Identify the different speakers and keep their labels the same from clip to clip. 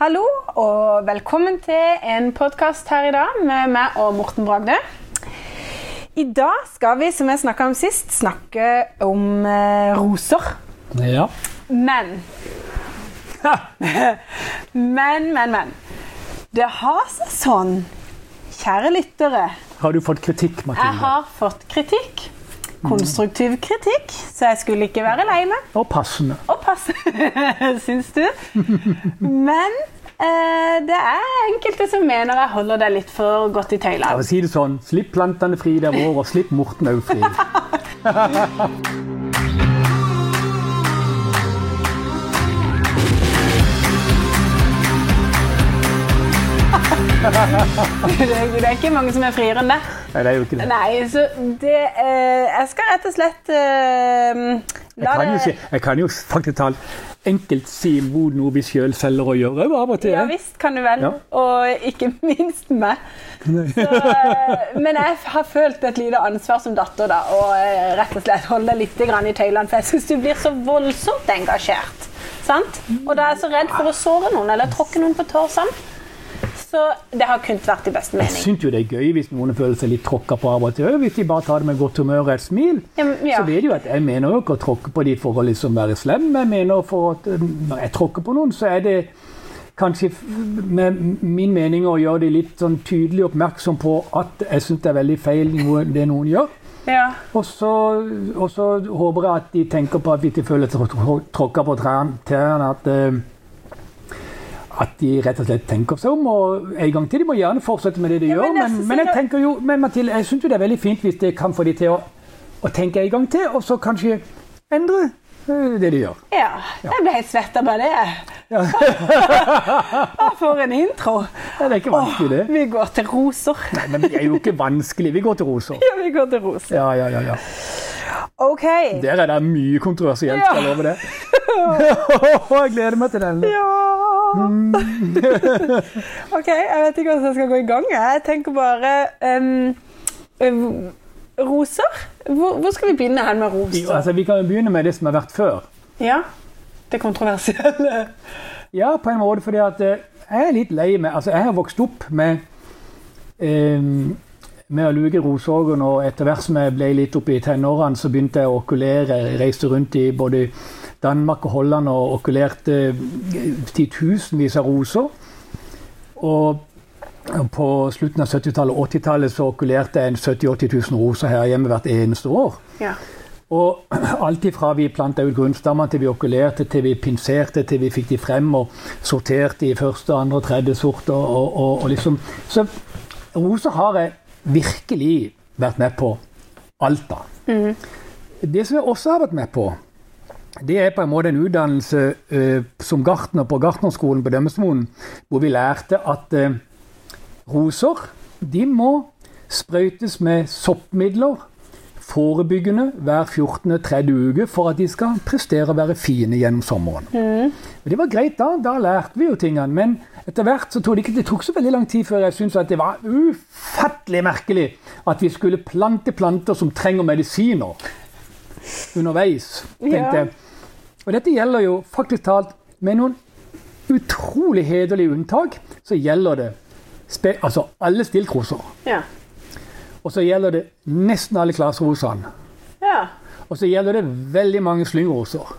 Speaker 1: Hallo og velkommen til en podkast her i dag med meg og Morten Bragde. I dag skal vi, som jeg snakka om sist, snakke om eh, roser.
Speaker 2: Ja.
Speaker 1: Men Men, men, men. Det har seg sånn, kjære lyttere
Speaker 2: Har du fått kritikk,
Speaker 1: Jeg
Speaker 2: Mathilde?
Speaker 1: har fått kritikk. Konstruktiv kritikk, så jeg skulle ikke være lei meg.
Speaker 2: Og passende.
Speaker 1: og passe, syns du. Men eh, det er enkelte som mener jeg holder deg litt for godt i tøyla.
Speaker 2: Jeg vil si det sånn, slipp plantene fri der vår, og slipp Morten òg fri.
Speaker 1: Det er ikke mange som er friere enn det.
Speaker 2: Nei, det er jo ikke det.
Speaker 1: Nei, så det eh, Jeg skal rett og slett eh,
Speaker 2: Jeg
Speaker 1: la
Speaker 2: kan jo, si,
Speaker 1: det
Speaker 2: jeg kan jo faktisk talt enkelt si imot noe vi sjøl selger og gjør òg, av og til.
Speaker 1: Ja visst kan du vel.
Speaker 2: Ja.
Speaker 1: Og ikke minst meg. Så, eh, men jeg har følt et lite ansvar som datter, da. Og eh, rett og slett holde deg litt grann i tøylene, for jeg syns du blir så voldsomt engasjert. Sant? Og da er jeg så redd for å såre noen eller tråkke noen på tå sånn. Så det har kun vært i beste
Speaker 2: Jeg
Speaker 1: mening.
Speaker 2: syns jo det er gøy hvis noen føler seg litt tråkka på av og til. Hvis de bare tar det med godt humør og et smil,
Speaker 1: Ja, men- ja.
Speaker 2: så vet de jo at jeg mener jo ikke å tråkke på de for å liksom være slem. Jeg mener for at eh, når jeg tråkker på noen, så er det kanskje f- med min mening å gjøre de litt sånn tydelig oppmerksom på at jeg syns det er veldig feil noe, det noen gjør.
Speaker 1: Ja.
Speaker 2: Og så, og så håper jeg at de tenker på at vi ikke føler trå- trå- tråkka på tær- tærne. At, eh, at de rett og slett tenker seg om. Og en gang til, de må gjerne fortsette med det de
Speaker 1: Ja,
Speaker 2: gjør.
Speaker 1: men jeg
Speaker 2: Men,
Speaker 1: synes
Speaker 2: men jeg
Speaker 1: det-
Speaker 2: tenker jo, men Mathilde, jeg syns jo det er veldig fint hvis det kan få de til å, å tenke en gang til, og så kanskje endre eh, det de gjør.
Speaker 1: ja. Jeg ble helt svett av bare det. For en intro.
Speaker 2: Ja, Det er ikke vanskelig, det.
Speaker 1: Vi går til roser.
Speaker 2: Nei, men det er jo ikke vanskelig. Vi går til roser.
Speaker 1: Ja, vi går til roser.
Speaker 2: Ja, ja, ja. ja.
Speaker 1: OK.
Speaker 2: Der er det mye kontroversielt,
Speaker 1: Ja.
Speaker 2: skal jeg love det. Jeg gleder meg til den.
Speaker 1: Ja OK, jeg vet ikke hvordan jeg skal gå i gang. jeg. Jeg tenker bare ehm, ehm, Roser? Hvor, hvor skal vi begynne her med
Speaker 2: Jo,
Speaker 1: roser?
Speaker 2: Altså, vi kan jo begynne med det som har vært før.
Speaker 1: Ja, Det kontroversielle.
Speaker 2: Ja, på en måte, fordi at eh, jeg er litt lei meg. Altså, jeg har vokst opp med eh, med å luke Rosågen, og etter hvert som jeg ble litt oppe i tenårene, så begynte jeg å okulere. Jeg reiste rundt i både Danmark og Holland og okulerte eh, titusenvis av roser. Og på slutten av 70-tallet og 80-tallet så okulerte jeg en 70 000-80 000 roser her hjemme hvert eneste år.
Speaker 1: Ja.
Speaker 2: Og alt ifra vi planta ut grunnstammene, til vi okulerte, til vi pinserte, til vi fikk de frem og sorterte i første, andre og tredje sorter. Og, og, og liksom. Så roser har jeg virkelig vært med på alt av. Det som jeg også har vært med på, det er på en måte en utdannelse eh, som gartner på gartnerskolen på Dømmesmoen, hvor vi lærte at eh, roser de må sprøytes med soppmidler forebyggende hver 14. tredje uke for at de skal prestere og være fine gjennom sommeren. Og Det var greit da, da lærte vi jo tingene, men etter hvert så tok det ikke det tok så veldig lang tid før jeg syntes at det var ufattelig merkelig at vi skulle plante planter som trenger medisiner underveis,
Speaker 1: Ja.
Speaker 2: tenkte jeg. Og dette gjelder jo faktisk talt med noen utrolig hederlige unntak, så gjelder det spe, altså alle stiltroser.
Speaker 1: ja.
Speaker 2: Og så gjelder det nesten alle klasserosene.
Speaker 1: ja.
Speaker 2: Og så gjelder det veldig mange slyngroser.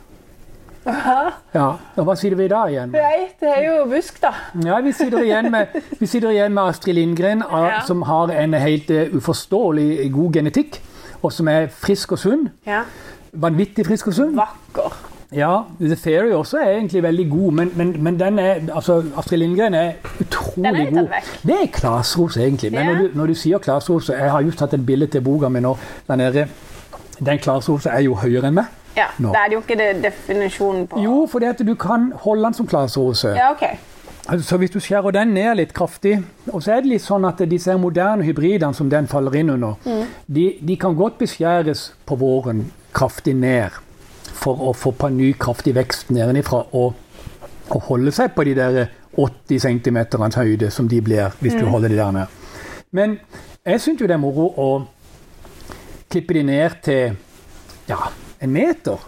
Speaker 2: Ja, og hva sier vi da igjen?
Speaker 1: Nei, det er jo busk, da.
Speaker 2: Ja, Vi sitter igjen med, vi sitter igjen med Astrid Lindgren, a-
Speaker 1: Ja.
Speaker 2: som har en helt eh, uforståelig god genetikk. Og som er frisk og sunn.
Speaker 1: Ja.
Speaker 2: Vanvittig frisk og sunn.
Speaker 1: Vakker.
Speaker 2: Ja, The Fairy også er egentlig veldig god, men, men, men den er, altså, Astrid Lindgren er
Speaker 1: Den er
Speaker 2: utrolig
Speaker 1: litt av
Speaker 2: god.
Speaker 1: vekk.
Speaker 2: Det er klasros, egentlig. Men
Speaker 1: Ja.
Speaker 2: når, du, når du sier klasros, så jeg har just tatt et bilde til boka mi nå. Den, er, den klasrosa er jo høyere enn meg.
Speaker 1: Ja,
Speaker 2: Nå.
Speaker 1: Det er jo ikke det definisjonen på
Speaker 2: Jo, fordi at du kan holde den som klasrose.
Speaker 1: Ja, OK.
Speaker 2: Altså, Så hvis du skjærer den ned litt kraftig Og så er det litt sånn at disse her moderne hybridene som den faller inn under,
Speaker 1: Mm.
Speaker 2: de, de kan godt beskjæres på våren kraftig ned for å få på en ny kraftig vekst nedenifra og, og holde seg på de der 80 cm høyde som de blir hvis
Speaker 1: Mm.
Speaker 2: du holder de der ned. Men jeg syns jo det er moro å klippe de ned til ja, en meter,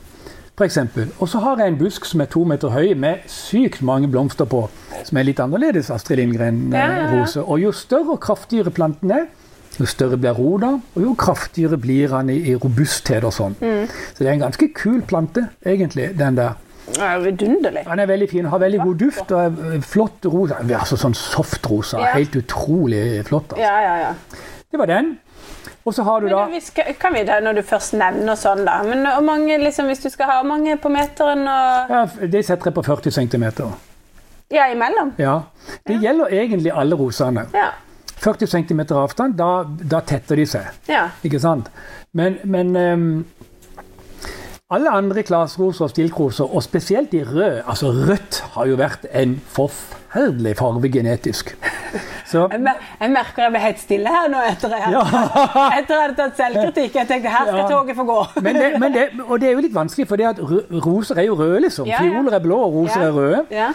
Speaker 2: f.eks. Og så har jeg en busk som er to meter høy med sykt mange blomster på. som er litt annerledes Astrid
Speaker 1: Ja, ja, ja.
Speaker 2: Lindgren-rose. Og jo større og kraftigere planten er, jo større blir roda, og jo kraftigere blir han i, i robusthet og sånn.
Speaker 1: Mm.
Speaker 2: Så det er en ganske kul plante, egentlig, den der.
Speaker 1: Det er Vidunderlig.
Speaker 2: Han er veldig fin, har veldig god duft og er eh, flott rosa. Altså sånn soft rosa.
Speaker 1: Ja.
Speaker 2: Helt utrolig flott. Altså.
Speaker 1: Ja, ja, ja.
Speaker 2: Det var den. Og så har du da
Speaker 1: Men vi skal, kan vi da, når du først nevner sånn, da Men hvor mange, liksom, hvis du skal ha hvor mange på meteren og
Speaker 2: ja, Det setter jeg på 40 cm.
Speaker 1: Ja, imellom?
Speaker 2: Ja. Det gjelder egentlig alle rosene.
Speaker 1: Ja.
Speaker 2: 40 cm avstand, da, da tetter de seg.
Speaker 1: ja.
Speaker 2: Ikke sant? Men, men ehm, alle andre klasroser og stilkroser, og spesielt de røde Altså, rødt har jo vært en forferdelig farge genetisk. Så
Speaker 1: Jeg, mer jeg merker jeg ble helt stille her nå etter jeg,
Speaker 2: Ja.
Speaker 1: etter jeg hadde tatt selvkritikk. Jeg tenkte her skal
Speaker 2: Ja.
Speaker 1: toget få gå.
Speaker 2: men det, men det, og det er jo litt vanskelig, for det at rø- roser er jo røde, liksom.
Speaker 1: Ja, ja.
Speaker 2: Fioler er blå, og roser
Speaker 1: Ja.
Speaker 2: er røde.
Speaker 1: Ja.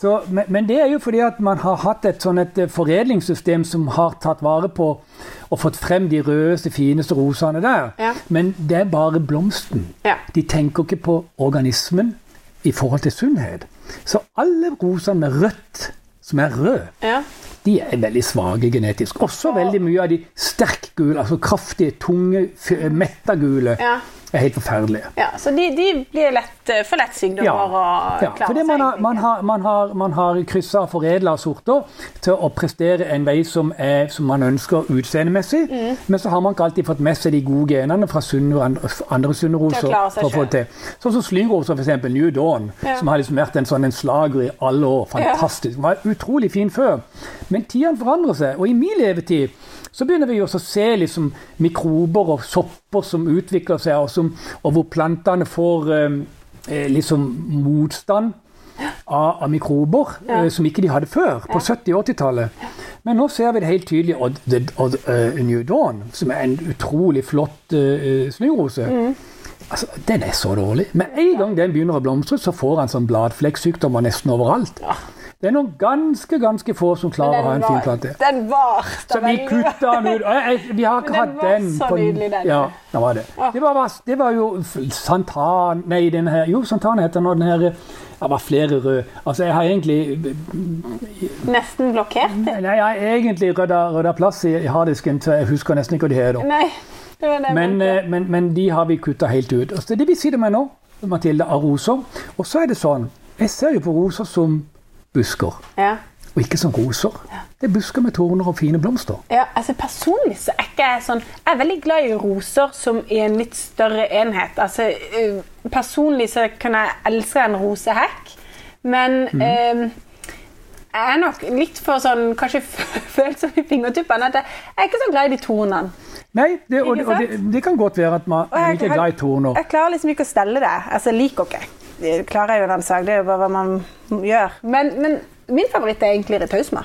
Speaker 2: Så, men, men det er jo fordi at man har hatt et, sånn et eh, foredlingssystem som har tatt vare på og fått frem de rødeste, fineste rosene der.
Speaker 1: Ja.
Speaker 2: Men det er bare blomsten.
Speaker 1: Ja.
Speaker 2: De tenker ikke på organismen i forhold til sunnhet. Så alle rosene med rødt, som er rød,
Speaker 1: Ja.
Speaker 2: de er veldig svake genetisk. Også veldig mye av de sterk gule, altså kraftige, tunge, f- metta gule,
Speaker 1: Ja.
Speaker 2: er helt forferdelige.
Speaker 1: ja. Så de, de blir lett, eh, for lett sykdommer og
Speaker 2: Ja, fordi man har, man har, man har, man har kryssa og foredla sorter til å prestere en vei som, er, som man ønsker utseendemessig,
Speaker 1: Mm.
Speaker 2: men så har man ikke alltid fått med seg de gode genene fra sunne og andre, andre sunne
Speaker 1: Til å
Speaker 2: roser.
Speaker 1: klare seg
Speaker 2: for å få
Speaker 1: selv.
Speaker 2: til. Sånn som slyngroser, f.eks. New Dawn,
Speaker 1: Ja.
Speaker 2: som har liksom vært en sånn en slager i alle år. Fantastisk. Den var utrolig fin før. Men tidene forandrer seg, og i min levetid så begynner vi jo også å se liksom mikrober og sopper som utvikler seg, og, som, og hvor plantene får eh, eh, liksom motstand av, av mikrober
Speaker 1: Ja.
Speaker 2: eh, som ikke de hadde før, på 70- og 80-tallet. Men nå ser vi det helt tydelig. Og, The, og eh, New Dawn, som er en utrolig flott uh, slyngrose,
Speaker 1: Mm.
Speaker 2: altså, den er så dårlig. Med en gang den begynner å blomstre, så får han sånn bladflekksykdommer nesten overalt. Det er noen ganske, ganske få som klarer å ha en fin plante.
Speaker 1: Den var
Speaker 2: Så vi kutta den ut. Jeg, jeg, vi har
Speaker 1: Men
Speaker 2: ikke
Speaker 1: den
Speaker 2: hatt
Speaker 1: var
Speaker 2: den.
Speaker 1: så
Speaker 2: på-
Speaker 1: nydelig, den.
Speaker 2: Ja, den var det.
Speaker 1: Ja.
Speaker 2: Det var, vas- det var jo f- Santan Nei, den her, jo, Santan heter den, og den her Det var flere røde. Altså, jeg har egentlig
Speaker 1: Nesten blokkert.
Speaker 2: Nei, jeg har egentlig rydda rydda plass i i harddisken, så jeg husker nesten ikke hva de heter.
Speaker 1: Nei, det var det. jeg
Speaker 2: Men,
Speaker 1: mente.
Speaker 2: eh, men, men de har vi kutta helt ut. Altså, det vi sitter med nå, Mathilde, av roser Og så er det sånn Jeg ser jo på roser som busker,
Speaker 1: ja.
Speaker 2: og ikke som roser. Det er busker med torner og fine blomster.
Speaker 1: Ja, altså Personlig så er ikke jeg sånn Jeg er veldig glad i roser som i en litt større enhet. Altså, eh, Personlig så kan jeg elske en rosehekk, men eh, jeg er nok litt for sånn Kanskje følsom i fingertuppene. At jeg, jeg er ikke så glad i de tornene.
Speaker 2: Nei, det, og,
Speaker 1: Ikke
Speaker 2: og det, det kan godt være at man man ikke er glad i torner.
Speaker 1: Jeg klarer liksom ikke å stelle det. Altså, jeg liker ikke. Det klarer jeg jo den sak, det er jo bare hva man gjør. Men, men min favoritt er egentlig retausma.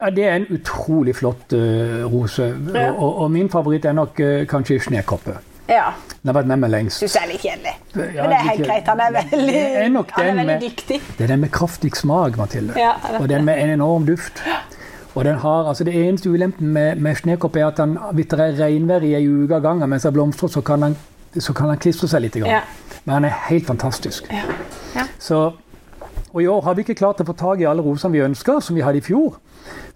Speaker 2: Ja, det er en utrolig flott eh, rose. Og, og, og min favoritt er nok eh, kanskje snekoppe.
Speaker 1: Ja.
Speaker 2: Den har vært med meg lengst.
Speaker 1: Syns jeg er litt kjedelig.
Speaker 2: Ja,
Speaker 1: Men det er helt
Speaker 2: litt-
Speaker 1: greit. Han er veldig,
Speaker 2: Det er nok
Speaker 1: han
Speaker 2: den
Speaker 1: er veldig
Speaker 2: med-
Speaker 1: dyktig.
Speaker 2: Det er den med kraftig smak, Mathilde.
Speaker 1: Ja, det er
Speaker 2: og den med en enorm duft. Og den har, altså Det eneste ulempen med, med snekopp er at den, hvis det er regnvær i ei uke av gangen mens den blomstrer, så kan den, så kan den klistre seg litt. Grann.
Speaker 1: Ja.
Speaker 2: Men den er helt fantastisk.
Speaker 1: Ja.
Speaker 2: Så, og I år har vi ikke klart å få tak i alle rosene vi ønsker, som vi hadde i fjor.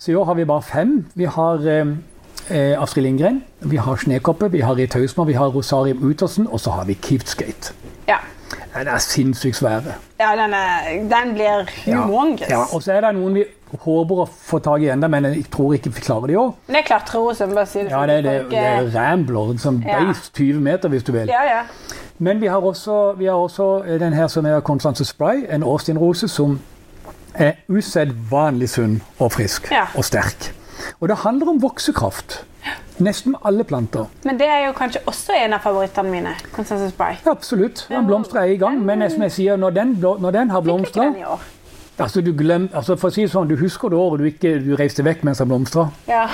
Speaker 2: Så i år har vi bare fem. Vi har eh, eh, Astrid Lindgren, vi har Snekoppe, vi har Ritausma, vi har Rosarium Utersen, og så har vi Kiftskate.
Speaker 1: Ja.
Speaker 2: Den er sinnssykt svære.
Speaker 1: ja den, er, den blir humongous.
Speaker 2: Ja, og så er det noen vi håper å få tak i enda, men jeg tror ikke vi klarer det i år.
Speaker 1: Men jeg klatrer også, som bare sier
Speaker 2: Ja, det er, det, det er Rambler, som
Speaker 1: Ja.
Speaker 2: beist 20 meter, hvis du vil.
Speaker 1: eh, ja, ja.
Speaker 2: Men vi har også, vi har også eh, den her som er Constance Spry, en Austin-rose som er usedvanlig sunn og frisk
Speaker 1: Ja.
Speaker 2: og sterk. Og det handler om voksekraft. Nesten alle planter.
Speaker 1: Men det er jo kanskje også en av favorittene mine. Consensus By.
Speaker 2: Ja, absolutt. Den blomstrer er i gang, men som jeg sier, når den, blå- når den har
Speaker 1: Fikk ikke
Speaker 2: blomstra
Speaker 1: den i år.
Speaker 2: altså, du, glem- altså, for å si det sånn, du husker det året du ikke du reiste vekk mens den blomstra.
Speaker 1: Ja.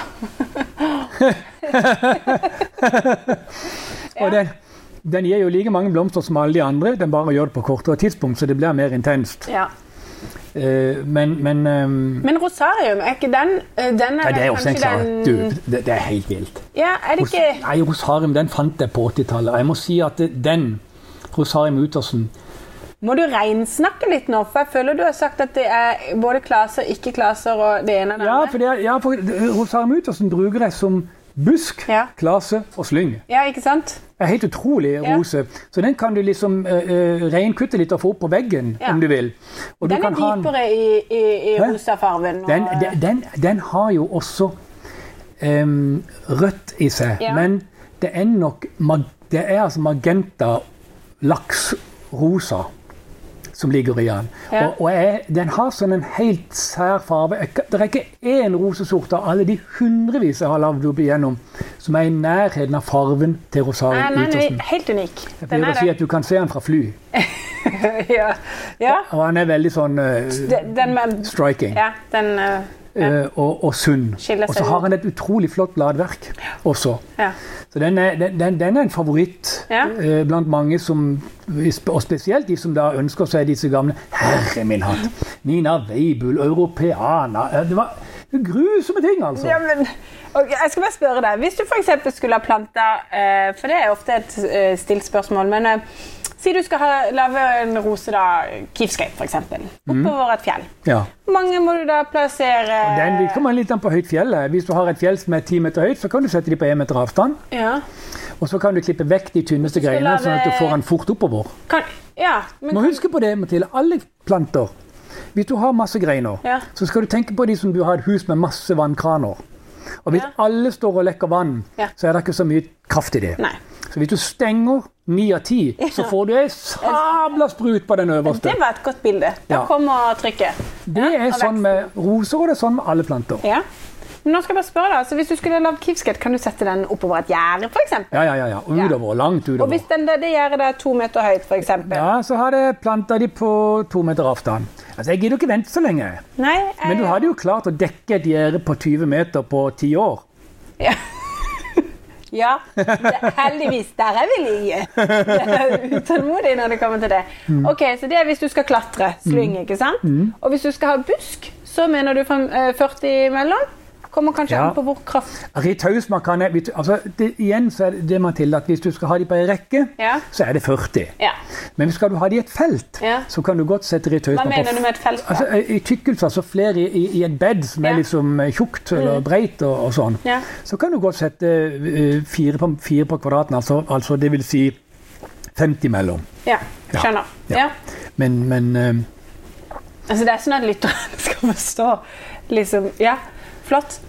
Speaker 2: Og den, den gir jo like mange blomster som alle de andre, den bare gjør det på kortere tidspunkt, så det blir mer intenst.
Speaker 1: ja.
Speaker 2: Eh, men men eh,
Speaker 1: Men Rosarium, er ikke den eh, Den
Speaker 2: ja,
Speaker 1: er,
Speaker 2: det er også en
Speaker 1: kanskje
Speaker 2: klar Du,
Speaker 1: den
Speaker 2: det, det er helt vilt.
Speaker 1: Ja, er det
Speaker 2: Ros-
Speaker 1: ikke
Speaker 2: Nei, Rosarium den fant jeg på 80-tallet. og Jeg må si at det- den, Rosarium Utersen,
Speaker 1: Må du reinsnakke litt nå? For jeg føler du har sagt at det er både klaser, ikke-klaser og det ene og det
Speaker 2: Ja,
Speaker 1: andre.
Speaker 2: for, det er, ja, for Rosarum Utersen bruker jeg som busk,
Speaker 1: Ja.
Speaker 2: klase og slyng.
Speaker 1: Ja, ikke sant?
Speaker 2: Det er helt utrolig
Speaker 1: Ja.
Speaker 2: rose. Så den kan du liksom eh, eh, reinkutte litt og få opp på veggen,
Speaker 1: Ja.
Speaker 2: om du vil. Og du
Speaker 1: Den er
Speaker 2: kan ha en-
Speaker 1: dypere i, i, i
Speaker 2: Hæ?
Speaker 1: rosafargen. og-
Speaker 2: Den, den, den, den har jo også em, rødt i seg,
Speaker 1: Ja.
Speaker 2: men det er nok mag, det er altså magenta, laks, rosa som ligger i den.
Speaker 1: Ja.
Speaker 2: Og, og jeg, den har sånn en helt sær farve. Jeg kan- Det er ikke én rosesort av alle de hundrevis jeg har lagd opp igjennom, som er i nærheten av farven til
Speaker 1: Nei,
Speaker 2: Rosario
Speaker 1: nei, nei,
Speaker 2: Utersen.
Speaker 1: helt unik.
Speaker 2: Jeg
Speaker 1: Den
Speaker 2: pleier å
Speaker 1: er
Speaker 2: si
Speaker 1: det.
Speaker 2: at du kan se den fra fly,
Speaker 1: ja. ja.
Speaker 2: og han er veldig sånn eh,
Speaker 1: Den den med
Speaker 2: striking.
Speaker 1: Ja, den eh,
Speaker 2: eh, og, og sunn.
Speaker 1: Skiller
Speaker 2: Og
Speaker 1: seg
Speaker 2: så har
Speaker 1: ut.
Speaker 2: han et utrolig flott bladverk også.
Speaker 1: Ja.
Speaker 2: Så den er, den, den- den er en favoritt
Speaker 1: Ja.
Speaker 2: eh, blant mange, som, og spesielt de som da ønsker seg disse gamle. Herre min hatt! Nina Weibul, Europeana eh, Det var grusomme ting, altså.
Speaker 1: Ja, men, ok, jeg skal bare spørre deg. Hvis du f.eks. skulle ha planta eh, For det er ofte et eh, stilt spørsmål. Men eh, si du skal ha, lage en rose, da, Kivscape f.eks., oppover et fjell.
Speaker 2: Ja.
Speaker 1: Hvor mange må du da plassere
Speaker 2: Den kommer litt an på høyt fjellet. Hvis du har et fjell som er ti meter høyt, så kan du sette de på én meter avstand.
Speaker 1: ja.
Speaker 2: Og så kan du klippe vekk de tynneste
Speaker 1: skal
Speaker 2: greinene,
Speaker 1: lage-
Speaker 2: sånn at du får den fort oppover.
Speaker 1: Kan, ja, men
Speaker 2: Må
Speaker 1: kan,
Speaker 2: huske på det, Mathilde. Alle planter. Hvis du har masse greiner,
Speaker 1: Ja.
Speaker 2: så skal du tenke på de som du har et hus med masse vannkraner. Og hvis alle står og lekker vann,
Speaker 1: Ja.
Speaker 2: så er det ikke så mye kraft i det.
Speaker 1: Nei.
Speaker 2: Så hvis du stenger ni av ti, så får du ei sabla sprut på den øverste.
Speaker 1: Det var et godt bilde. Da
Speaker 2: Ja.
Speaker 1: kommer trykket.
Speaker 2: Det er
Speaker 1: og
Speaker 2: sånn med roser, og det er sånn med alle planter.
Speaker 1: Ja. Men nå skal jeg bare spørre deg, altså, Hvis du skulle ha lagd Kivscape, kan du sette den oppover et gjerde f.eks.?
Speaker 2: Ja, ja, ja. ja. Og
Speaker 1: Ja.
Speaker 2: Utover. Langt
Speaker 1: Og
Speaker 2: utover.
Speaker 1: hvis den, det, det gjerdet er to meter høyt, f.eks.?
Speaker 2: Ja, så har jeg planta de på to meter avstand. Altså, Jeg gidder ikke vente så lenge.
Speaker 1: Nei, jeg,
Speaker 2: Men du hadde jo klart å dekke et gjerde på 20 meter på ti år.
Speaker 1: Ja. ja. det- Heldigvis. Der er vi like. Jeg er utålmodig når det kommer til det.
Speaker 2: Mm.
Speaker 1: Ok, Så det er hvis du skal klatre. Slyng, ikke sant? Og hvis du skal ha busk, så mener du fem- eh, 40 mellom? Kommer kanskje
Speaker 2: Ja.
Speaker 1: an på hvor kraft
Speaker 2: Ritt Hausmann kan jeg, vet du, altså, det, igjen så er det det, Mathilde, at hvis du skal ha de på ei rekke,
Speaker 1: Ja.
Speaker 2: så er det 40.
Speaker 1: Ja.
Speaker 2: Men skal du ha de i et felt,
Speaker 1: Ja.
Speaker 2: så kan du godt sette Ritt
Speaker 1: Hva
Speaker 2: Hausmann
Speaker 1: mener du med et felt?
Speaker 2: Altså,
Speaker 1: da?
Speaker 2: I i tykkelse, altså flere i, i, i et bed som
Speaker 1: Ja. Mm.
Speaker 2: er liksom eh, tjukt eller breit og, og sånn,
Speaker 1: Ja.
Speaker 2: så kan du godt sette eh, fire på, fire på kvadraten, altså, altså det vil si 50 mellom.
Speaker 1: Ja, skjønner.
Speaker 2: Ja.
Speaker 1: Ja.
Speaker 2: Men, men eh,
Speaker 1: Altså, det er sånn at lytterne skal forstå. Liksom, ja, flott.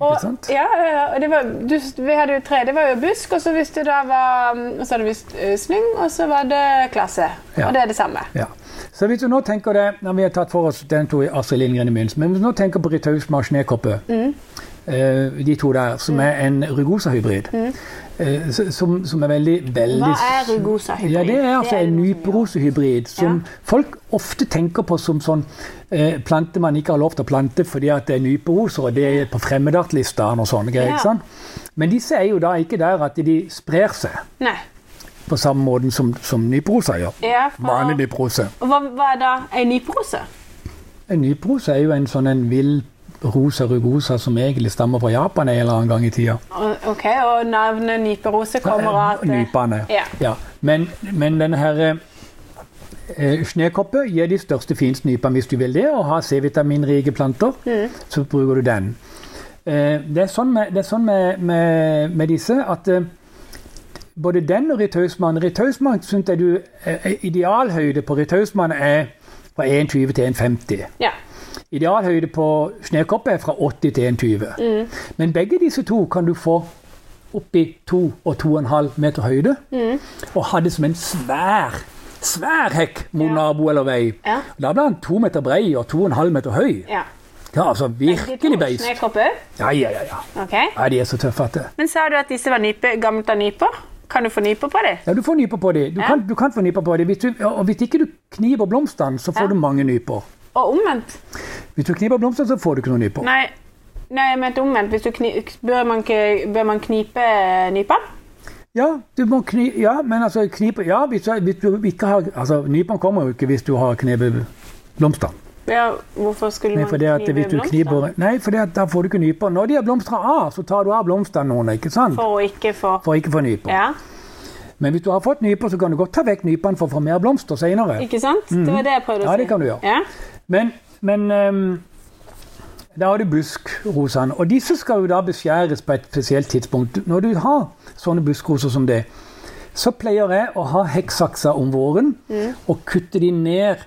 Speaker 1: Og,
Speaker 2: Ikke sant?
Speaker 1: Ja, ja, ja, og det var, du, vi hadde jo tre. Det var jo busk, og så hvis det da var mm, og så hadde vi s- eh, slyng, og så var det klasse.
Speaker 2: Ja.
Speaker 1: Og det er det samme.
Speaker 2: Ja. Så hvis du nå tenker det, når vi har tatt for oss den to i Astrid Lindgren i begynnelsen, men hvis du nå tenker på Ritausma og Snekoppe,
Speaker 1: Mm.
Speaker 2: eh, de to der, som er en rugosa-hybrid, eh, s- som, som er veldig, veldig
Speaker 1: Mm. Hva er rugosa-hybrid?
Speaker 2: Ja, det er altså
Speaker 1: Det er
Speaker 2: en
Speaker 1: noe som-
Speaker 2: nyperosehybrid som
Speaker 1: Ja.
Speaker 2: folk ofte tenker på som sånn eh, plante man ikke har lov til å plante fordi at det er nyperoser, og det er på fremmedartlistene og sånne greier.
Speaker 1: Ja.
Speaker 2: ikke sant? Men disse er jo da ikke der at de sprer seg
Speaker 1: Nei.
Speaker 2: på samme måten som, som nyperoser gjør.
Speaker 1: Ja, for-
Speaker 2: Vanlig nyperose.
Speaker 1: Og hva, hva er da ei nyprose?
Speaker 2: En nyprose er jo en sånn en vill rosa rugosa som egentlig stammer fra Japan en eller annen gang i tida.
Speaker 1: Og- Ok, og navnet nyperose kommer av at
Speaker 2: Nypene.
Speaker 1: Ja.
Speaker 2: Men, men denne her eh, snekoppe gir de største finsnypene hvis du vil det, og har C-vitaminrike planter,
Speaker 1: Mm.
Speaker 2: så bruker du den. Eh, det er sånn med, det er sånn med, med, med disse at eh, både den og Ritausmann Ritausmann syns jeg du eh, Idealhøyde på Ritausmann er fra 1,20 til 1,50.
Speaker 1: Ja.
Speaker 2: Idealhøyde på snekopp er fra 80 til 1,20.
Speaker 1: Mm.
Speaker 2: Men begge disse to kan du få opp i 2 og 2,5 meter høyde.
Speaker 1: Mm.
Speaker 2: Og ha det som en svær, svær hekk mot
Speaker 1: Ja.
Speaker 2: nabo eller vei.
Speaker 1: Ja.
Speaker 2: Da blir den 2 meter brei og 2,5 meter høy.
Speaker 1: ja.
Speaker 2: Ja, altså virkelig beist.
Speaker 1: Snøkroppe.
Speaker 2: Ja, ja, ja, ja.
Speaker 1: Ok.
Speaker 2: ja. De er så tøffe at det.
Speaker 1: Men sa du at disse var nype, gammelt av nyper? Kan du få nyper på dem?
Speaker 2: Ja, du får nyper på dem. Du,
Speaker 1: Ja.
Speaker 2: kan, du kan få nyper på dem. Hvis, du- og hvis ikke du kniver blomstene, så får
Speaker 1: Ja.
Speaker 2: du mange nyper.
Speaker 1: Og omvendt?
Speaker 2: Hvis du kniver blomstene, så får du ikke noen nyper.
Speaker 1: Nei, nei jeg mente omvendt. Hvis du kni, bør, man, ikke- bør man knipe eh, nypene?
Speaker 2: Ja, du må kni... Ja, men altså knipe... Ja, hvis du, hvis du ikke har... Altså, nypene kommer jo ikke hvis du har knebet blomster.
Speaker 1: Ja, hvorfor skulle
Speaker 2: Nei,
Speaker 1: man
Speaker 2: for det at hvis du
Speaker 1: blomster?
Speaker 2: kniper... Nei, for det at da får du ikke nyper. Når de har blomstra av, så tar du av blomstene noen, ikke sant?
Speaker 1: For å ikke få
Speaker 2: For å ikke få nyper.
Speaker 1: Ja.
Speaker 2: Men hvis du har fått nyper, så kan du godt ta vekk nypene for å få mer blomster senere.
Speaker 1: Ikke sant? Det var det jeg prøvde å si.
Speaker 2: Mhm. Ja, det kan du gjøre.
Speaker 1: Ja.
Speaker 2: Men, men ehm, da har du buskrosene, og disse skal jo da beskjæres på et spesielt tidspunkt. Når du har sånne buskroser som det, så pleier jeg å ha hekksaksa om våren og kutte de ned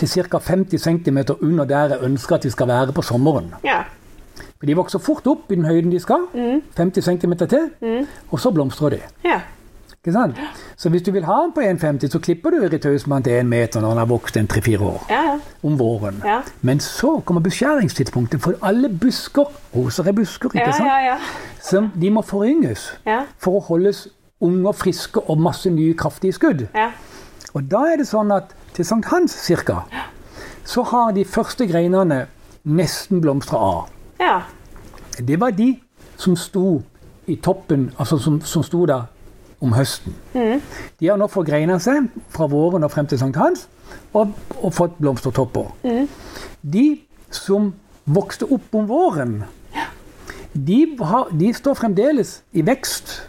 Speaker 2: til ca. 50 cm under der jeg ønsker at de skal være på sommeren.
Speaker 1: ja.
Speaker 2: For de vokser fort opp i den høyden de skal, 50 cm til, og så blomstrer de.
Speaker 1: ja.
Speaker 2: Ikke sant? Så hvis du vil ha den på 1,50, så klipper du irritøsmannen til 1 meter når den har vokst en 3-4 år
Speaker 1: ja, ja.
Speaker 2: om våren.
Speaker 1: Ja.
Speaker 2: Men så kommer beskjæringstidspunktet for alle busker. Roser er busker, ikke
Speaker 1: Ja,
Speaker 2: sant?
Speaker 1: ja, ja.
Speaker 2: Så de må forynges
Speaker 1: Ja.
Speaker 2: for å holdes unge og friske og masse nye kraftige skudd.
Speaker 1: ja.
Speaker 2: Og da er det sånn at til sankthans cirka, så har de første greinene nesten blomstra av.
Speaker 1: ja.
Speaker 2: Det var de som sto i toppen, altså som, som sto der om høsten.
Speaker 1: Mm.
Speaker 2: De har nå forgreina seg fra våren og frem til sankthans og, og fått blomstertopper.
Speaker 1: Mm.
Speaker 2: De som vokste opp om våren, de, har, de står fremdeles i vekst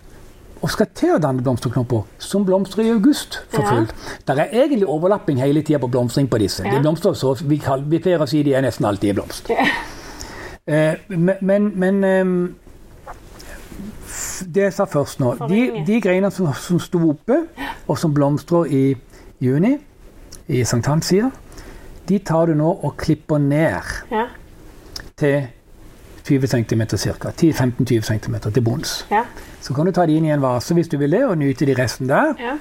Speaker 2: og skal til å danne blomsterknopper, som blomstrer i august for
Speaker 1: Ja.
Speaker 2: fullt. Der er egentlig overlapping hele tida på blomstring på disse.
Speaker 1: Ja.
Speaker 2: De blomstrer så, vi, kall- vi pleier å si de er nesten alltid i blomst. Eh, men men, men ehm, f- det jeg sa først nå De,
Speaker 1: Forringe.
Speaker 2: de greinene som, som sto oppe, og som blomstrer i juni, i sankthanssida, de tar du nå og klipper ned
Speaker 1: ja.
Speaker 2: til 20 cm ca. 10-15-20 cm til bunns.
Speaker 1: ja.
Speaker 2: Så kan du ta de inn i en vase hvis du vil det, og nyte de resten der.
Speaker 1: ja.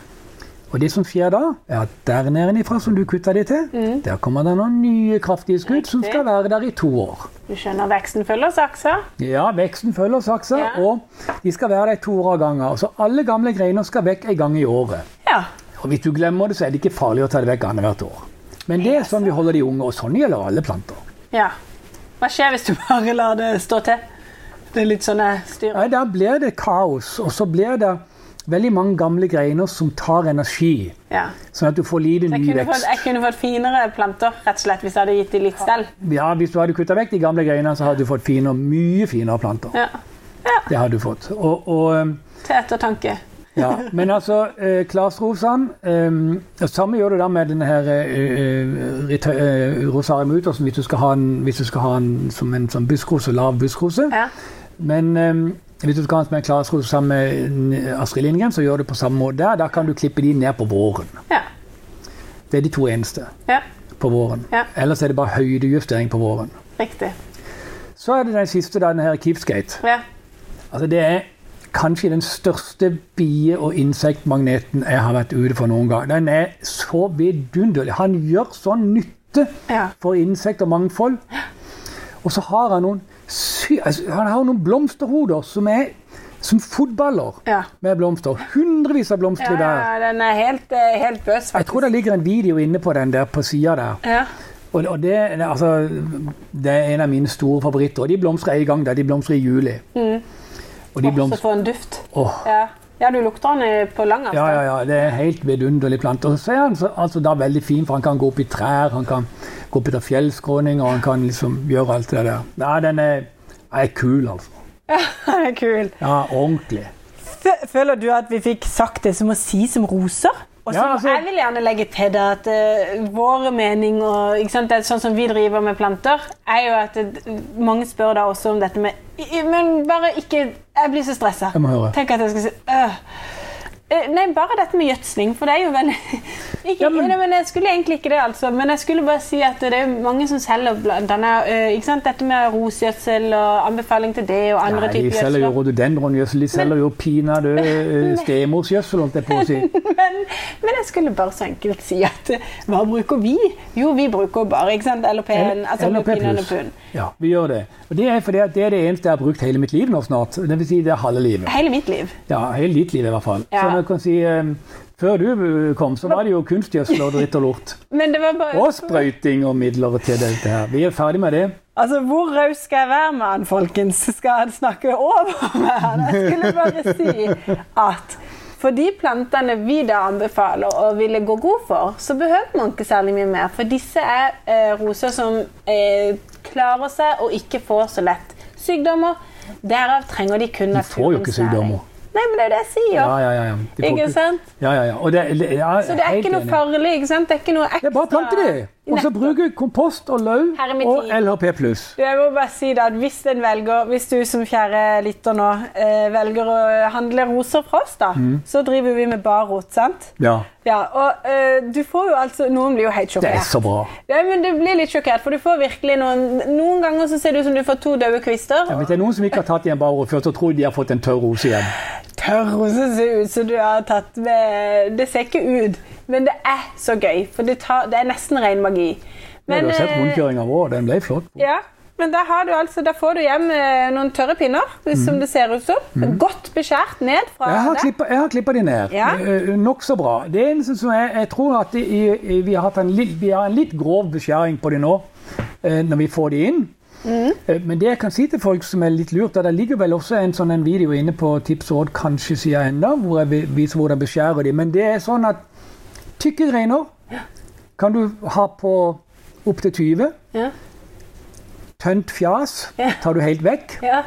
Speaker 2: Og det som skjer da, er at der nede ifra som du kutta de til, der kommer det noen nye kraftige skudd som
Speaker 1: Riktig.
Speaker 2: skal være der i to år.
Speaker 1: Du skjønner, veksten følger saksa.
Speaker 2: Ja, veksten følger saksa,
Speaker 1: Ja.
Speaker 2: og de skal være der i to år av gangen. Så alle gamle greiner skal vekk en gang i året.
Speaker 1: Ja.
Speaker 2: Og hvis du glemmer det, så er det ikke farlig å ta det vekk annethvert år. Men det er sånn vi holder de unge, og sånn gjelder alle planter.
Speaker 1: ja. Hva skjer hvis du bare lar det stå til? Det er litt sånn jeg styrer.
Speaker 2: Nei, der blir det kaos, og så blir det veldig mange gamle greiner som tar energi,
Speaker 1: Ja.
Speaker 2: sånn at du får lite
Speaker 1: Jeg
Speaker 2: ny
Speaker 1: kunne, fått,
Speaker 2: vekst.
Speaker 1: jeg kunne fått finere planter, rett og slett, hvis jeg hadde gitt dem litt stell.
Speaker 2: Ja, hvis du hadde kutta vekk de gamle greinene, så hadde du fått finere, mye finere planter.
Speaker 1: Ja.
Speaker 2: Det hadde du fått. Og, og
Speaker 1: Til ettertanke.
Speaker 2: Ja, men altså, eh, klasrosan eh, Samme gjør du da med denne her eh, eh, rita- eh, rosarium utosen hvis du skal ha den, hvis du skal ha den som en sånn buskrose, lav buskrose.
Speaker 1: Ja.
Speaker 2: Men eh, hvis du skal ha den som en klasrose sammen med en eh, Astrid Lindgren, så gjør du på samme måte der. Da kan du klippe de ned på våren.
Speaker 1: Ja.
Speaker 2: Det er de to eneste
Speaker 1: ja.
Speaker 2: på våren.
Speaker 1: Ja.
Speaker 2: Ellers er det bare høydejustering på våren.
Speaker 1: Riktig.
Speaker 2: Så er det den siste, da, den her keepskate.
Speaker 1: Ja.
Speaker 2: Altså, det er kanskje den største bie- og insektmagneten jeg har vært ute for noen gang. Den er så vidunderlig. Han gjør sånn nytte
Speaker 1: Ja.
Speaker 2: for insekt og mangfold. Og så har han noen sy altså, Han har noen blomsterhoder som er som fotballer
Speaker 1: Ja.
Speaker 2: med blomster. Hundrevis av
Speaker 1: Ja,
Speaker 2: blomster der.
Speaker 1: ja, den er helt, eh, helt bøs,
Speaker 2: Jeg
Speaker 1: faktisk.
Speaker 2: tror det ligger en video inne på den der på sida der.
Speaker 1: Ja.
Speaker 2: Og, og det, altså, det er en av mine store favoritter. Og de blomstrer en gang der. De blomstrer i juli. Og de
Speaker 1: Mm. Åh, Så
Speaker 2: blomstrer
Speaker 1: for en duft.
Speaker 2: Åh.
Speaker 1: Ja. ja, du lukter den eh, på lang
Speaker 2: Ja,
Speaker 1: avstand.
Speaker 2: ja, ja, det er helt vidunderlig plante. Og så er han så, altså da veldig fin, for han kan gå opp i trær, han kan gå opp etter fjellskråninger, og han kan liksom gjøre alt det der. Nei, den er, er kul, altså.
Speaker 1: Den er Kul.
Speaker 2: Ja, ordentlig.
Speaker 3: Fø- Føler du at vi fikk sagt det som å si som roser?
Speaker 1: Og så
Speaker 2: Ja, altså-
Speaker 1: Jeg vil gjerne legge til det at eh, våre meninger ikke sant, det er Sånn som vi driver med planter, er jo at eh, mange spør da også om dette med i- i- Men bare ikke Jeg blir så stressa.
Speaker 2: Jeg må høre.
Speaker 1: Tenk at jeg skal si øh. Eh, Nei, bare dette med gjødsling, for det er jo veldig ikke,
Speaker 2: Ja, men-
Speaker 1: nei, men Jeg skulle egentlig ikke det, altså. Men jeg skulle bare si at det er jo mange som selger blant annet, eh, ikke sant, dette med rosgjødsel og anbefaling til det og andre
Speaker 2: Nei, de
Speaker 1: typer
Speaker 2: selger jo
Speaker 1: gjødsler.
Speaker 2: rododendrongjøsel, de selger jo pinadø eh, stemorsgjøsel, holdt jeg på å si.
Speaker 1: Men, men jeg skulle bare så enkelt si at eh, hva bruker vi? Jo, vi bruker bare ikke sant? LPN. Altså
Speaker 2: LP+.
Speaker 1: lupin og lupin.
Speaker 2: Ja, vi gjør det. Og det er fordi at det er det eneste jeg har brukt hele mitt liv nå snart. Det vil si det er halve livet.
Speaker 1: Hele mitt liv.
Speaker 2: Ja, hele ditt liv i hvert fall.
Speaker 1: Ja.
Speaker 2: Så jeg kan si, eh, før du eh, kom, så var det jo kunstgjøsel og dritt og lort.
Speaker 1: Men det var bare
Speaker 2: Og sprøyting og midler til dette her. Vi er ferdig med det.
Speaker 3: Altså, Hvor raus skal jeg være med han, folkens? Skal han snakke over meg?
Speaker 1: Men Jeg skulle bare si at for de plantene vi da anbefaler og ville gå god for, så behøver man ikke særlig mye mer. For disse er eh, roser som eh, klarer seg og ikke får så lett sykdommer. Derav trenger de kun
Speaker 2: De får jo ikke
Speaker 1: naturens næring.
Speaker 2: sykdommer.
Speaker 4: Nei, men det er jo det jeg sier.
Speaker 2: Ja, ja, ja. ja. De får
Speaker 4: Ikke
Speaker 2: ikke-
Speaker 4: sant?
Speaker 2: Ja, ja, ja. Og det, ja,
Speaker 4: Så det er ikke noe farlig. ikke sant? Det er ikke noe ekstra.
Speaker 2: Det er bare å plante de. Og så
Speaker 4: Nettopp.
Speaker 2: bruke kompost og lauv
Speaker 4: Hermetikk.
Speaker 2: og LHP pluss.
Speaker 1: Jeg må bare si det at hvis, en velger, hvis du som kjære lytter nå eh, velger å handle roser fra oss, da,
Speaker 2: Mm.
Speaker 1: så driver vi med barrot, sant?
Speaker 2: Ja.
Speaker 1: Ja, og eh, du får jo altså Noen blir jo helt
Speaker 2: Det er
Speaker 1: sjokkert.
Speaker 2: så bra.
Speaker 1: Ja, men Du blir litt sjokkert, for du får virkelig noen Noen ganger så ser det ut som du får to døde kvister.
Speaker 2: Ja, Hvis det er noen som ikke har tatt i en barrot før, så tror jeg de har fått en tørr rose igjen.
Speaker 1: Tørr rose ser ut som du har tatt med Det ser ikke ut, men det er så gøy. For det, tar, det er nesten ren magi.
Speaker 2: Men, du har sett
Speaker 1: eh,
Speaker 2: rundkjøringa vår, den ble flott.
Speaker 1: Ja, men da, har du altså, da får du hjem eh, noen tørre pinner, som det ser ut som. Godt beskjært ned fra
Speaker 2: Mm. Jeg har
Speaker 1: det.
Speaker 2: klippa- jeg har klippa de ned.
Speaker 1: Ja.
Speaker 2: Eh, Nokså bra. Det eneste som jeg, jeg tror at i, i, vi, har hatt en litt, vi har en litt grov beskjæring på de nå, eh, når vi får de inn. Eh, Men det jeg kan si til folk som er litt lurt, er at det ligger vel også en sånn en video inne på Tips og råd, kanskje sida enda, hvor jeg vi- viser hvordan beskjærer de. Men det er sånn at tykke greiner kan du ha på opptil 20.
Speaker 4: Ja.
Speaker 2: Tønt fjas
Speaker 4: Ja.
Speaker 2: tar du helt vekk.
Speaker 4: Ja.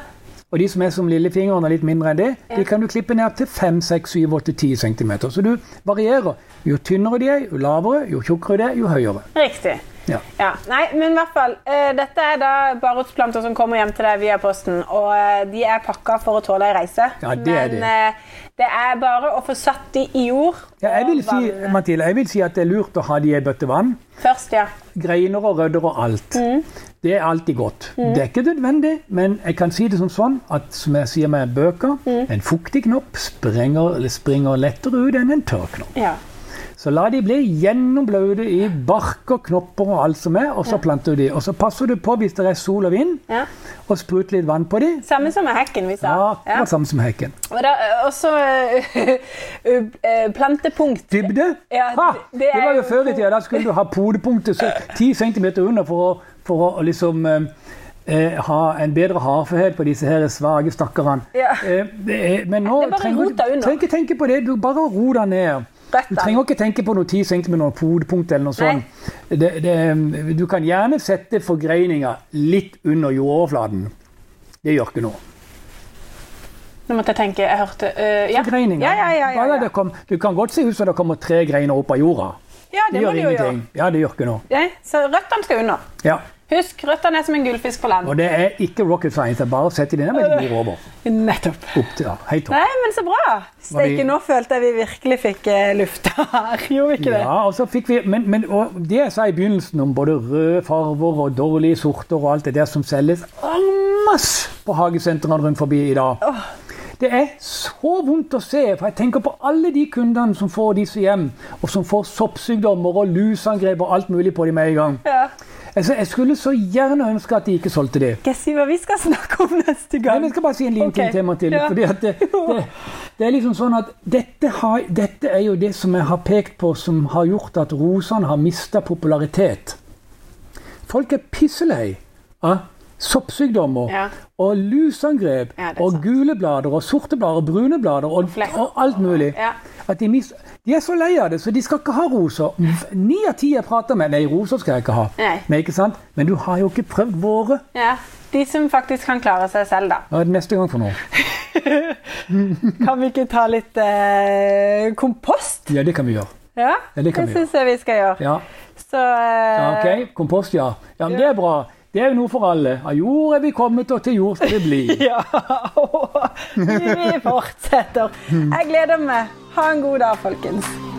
Speaker 2: Og de som er som lillefingeren og litt mindre enn det, de kan du klippe ned til 5, 6, 7, 8, 10 cm. Så du varierer. Jo tynnere de er, jo lavere, jo tjukkere de er, jo høyere.
Speaker 1: Riktig.
Speaker 2: Ja.
Speaker 1: Ja, nei, men i hvert fall, eh, Dette er da barotsplanter som kommer hjem til deg via posten. Og eh, de er pakka for å tåle ei reise.
Speaker 2: Ja, det er de.
Speaker 1: men eh, det er bare å få satt de i jord.
Speaker 2: Ja, jeg,
Speaker 1: og
Speaker 2: vil si,
Speaker 1: vann.
Speaker 2: Mathilde, jeg vil si at det er lurt å ha de i ei bøtte vann.
Speaker 1: Først, ja.
Speaker 2: Greiner og rødder og alt. Det er alltid godt. Det er ikke nødvendig, men jeg kan si det som sånn at som jeg sier med bøker, en fuktig knopp sprenger, eller springer lettere ut enn en tørr knopp.
Speaker 1: ja.
Speaker 2: Så la de bli gjennomblaute i bark og knopper og alt som er, og så planter du de. Og så passer du på hvis det er sol og vind,
Speaker 1: ja.
Speaker 2: og sprut litt vann på dem.
Speaker 1: Samme som med hekken vi sa.
Speaker 2: Ja, akkurat samme som hekken.
Speaker 1: Og da, eh, også eh, eh, plantepunkt.
Speaker 2: Dybde?
Speaker 1: Ja,
Speaker 2: ha,
Speaker 1: det-
Speaker 2: det,
Speaker 1: det er
Speaker 2: var
Speaker 1: jo
Speaker 2: jo før i tida. Da skulle du ha podepunktet så 10 cm under for å, for å liksom eh, eh, ha en bedre hardførhet på disse her svake stakkarene.
Speaker 1: Ja.
Speaker 2: Eh, det er- men nå
Speaker 1: Det er bare
Speaker 2: trenger
Speaker 1: rota
Speaker 2: du
Speaker 1: under.
Speaker 2: trenger ikke tenke på det. Du bare ro deg ned. Du
Speaker 1: Røttene.
Speaker 2: trenger ikke tenke på noe 10 cm podepunkt eller noe sånt. Det, det, du kan gjerne sette forgreininga litt under jordoverflaten. Det gjør ikke noe.
Speaker 1: Nå måtte jeg tenke, jeg hørte eh, ja.
Speaker 2: greninger.
Speaker 1: Ja, ja, ja, ja,
Speaker 2: Bare
Speaker 1: ja.
Speaker 2: det kom, du kan godt se ut som det kommer tre greiner opp av jorda.
Speaker 1: ja det
Speaker 2: Det
Speaker 1: må
Speaker 2: gjør
Speaker 1: du jo gjøre.
Speaker 2: ingenting. Ja, det gjør ikke noe.
Speaker 1: Ja, så røttene skal unna.
Speaker 2: Ja.
Speaker 1: Husk, røttene er som en gullfisk på land.
Speaker 2: Og det er ikke rocket science. Det er bare å sette denne med jord over.
Speaker 1: Nettopp.
Speaker 2: Opp til, ja, helt opp.
Speaker 1: Nei, men så bra. Steike, nå følte jeg vi virkelig fikk eh, lufta her. Gjorde vi ikke det?
Speaker 2: Ja, og så fikk vi, men, men og det jeg sa i begynnelsen om både røde farver og dårlige sorter og alt det der som selges en masse på hagesentrene rundt forbi i dag. Det er så vondt å se, for jeg tenker på alle de kundene som får disse hjem, og som får soppsykdommer og lusangrep og alt mulig på dem med en gang.
Speaker 1: Ja.
Speaker 2: Altså, jeg skulle så gjerne ønske at de ikke solgte det.
Speaker 1: Skal jeg si hva vi skal snakke om neste
Speaker 2: Men
Speaker 1: gang?
Speaker 2: jeg skal bare si en liten
Speaker 1: Ok.
Speaker 2: ting til, Mathilde.
Speaker 1: Ja.
Speaker 2: Fordi at det, det, det er liksom sånn at dette, har, dette er jo det som jeg har pekt på som har gjort at rosene har mista popularitet. Folk er pisselei av soppsykdommer
Speaker 1: Ja.
Speaker 2: og lusangrep
Speaker 1: Ja, det er
Speaker 2: og
Speaker 1: sant.
Speaker 2: gule blader og sorte blader og brune blader og,
Speaker 1: flekker.
Speaker 2: og alt mulig.
Speaker 1: Ja.
Speaker 2: At de, mis, de er så lei av det, så de skal ikke ha roser. Ni av ti jeg prater med Nei, roser skal jeg ikke ha.
Speaker 1: Mm. Nei.
Speaker 2: Men, ikke sant? Men du har jo ikke prøvd våre.
Speaker 1: Ja. De som faktisk kan klare seg selv, da.
Speaker 2: Hva er det neste gang for noe?
Speaker 1: Kan vi ikke ta litt eh, kompost?
Speaker 2: Ja, det kan vi gjøre.
Speaker 1: Ja,
Speaker 2: Ja, det kan vi
Speaker 1: syns jeg vi skal gjøre.
Speaker 2: Ja,
Speaker 1: Så eh,
Speaker 2: ja, ok. Kompost, ja. ja men det er bra. Det er jo noe for alle. Av jord er vi kommet, og til jord skal vi bli.
Speaker 1: Ja, vi fortsetter. Jeg gleder meg. Ha en god dag, folkens.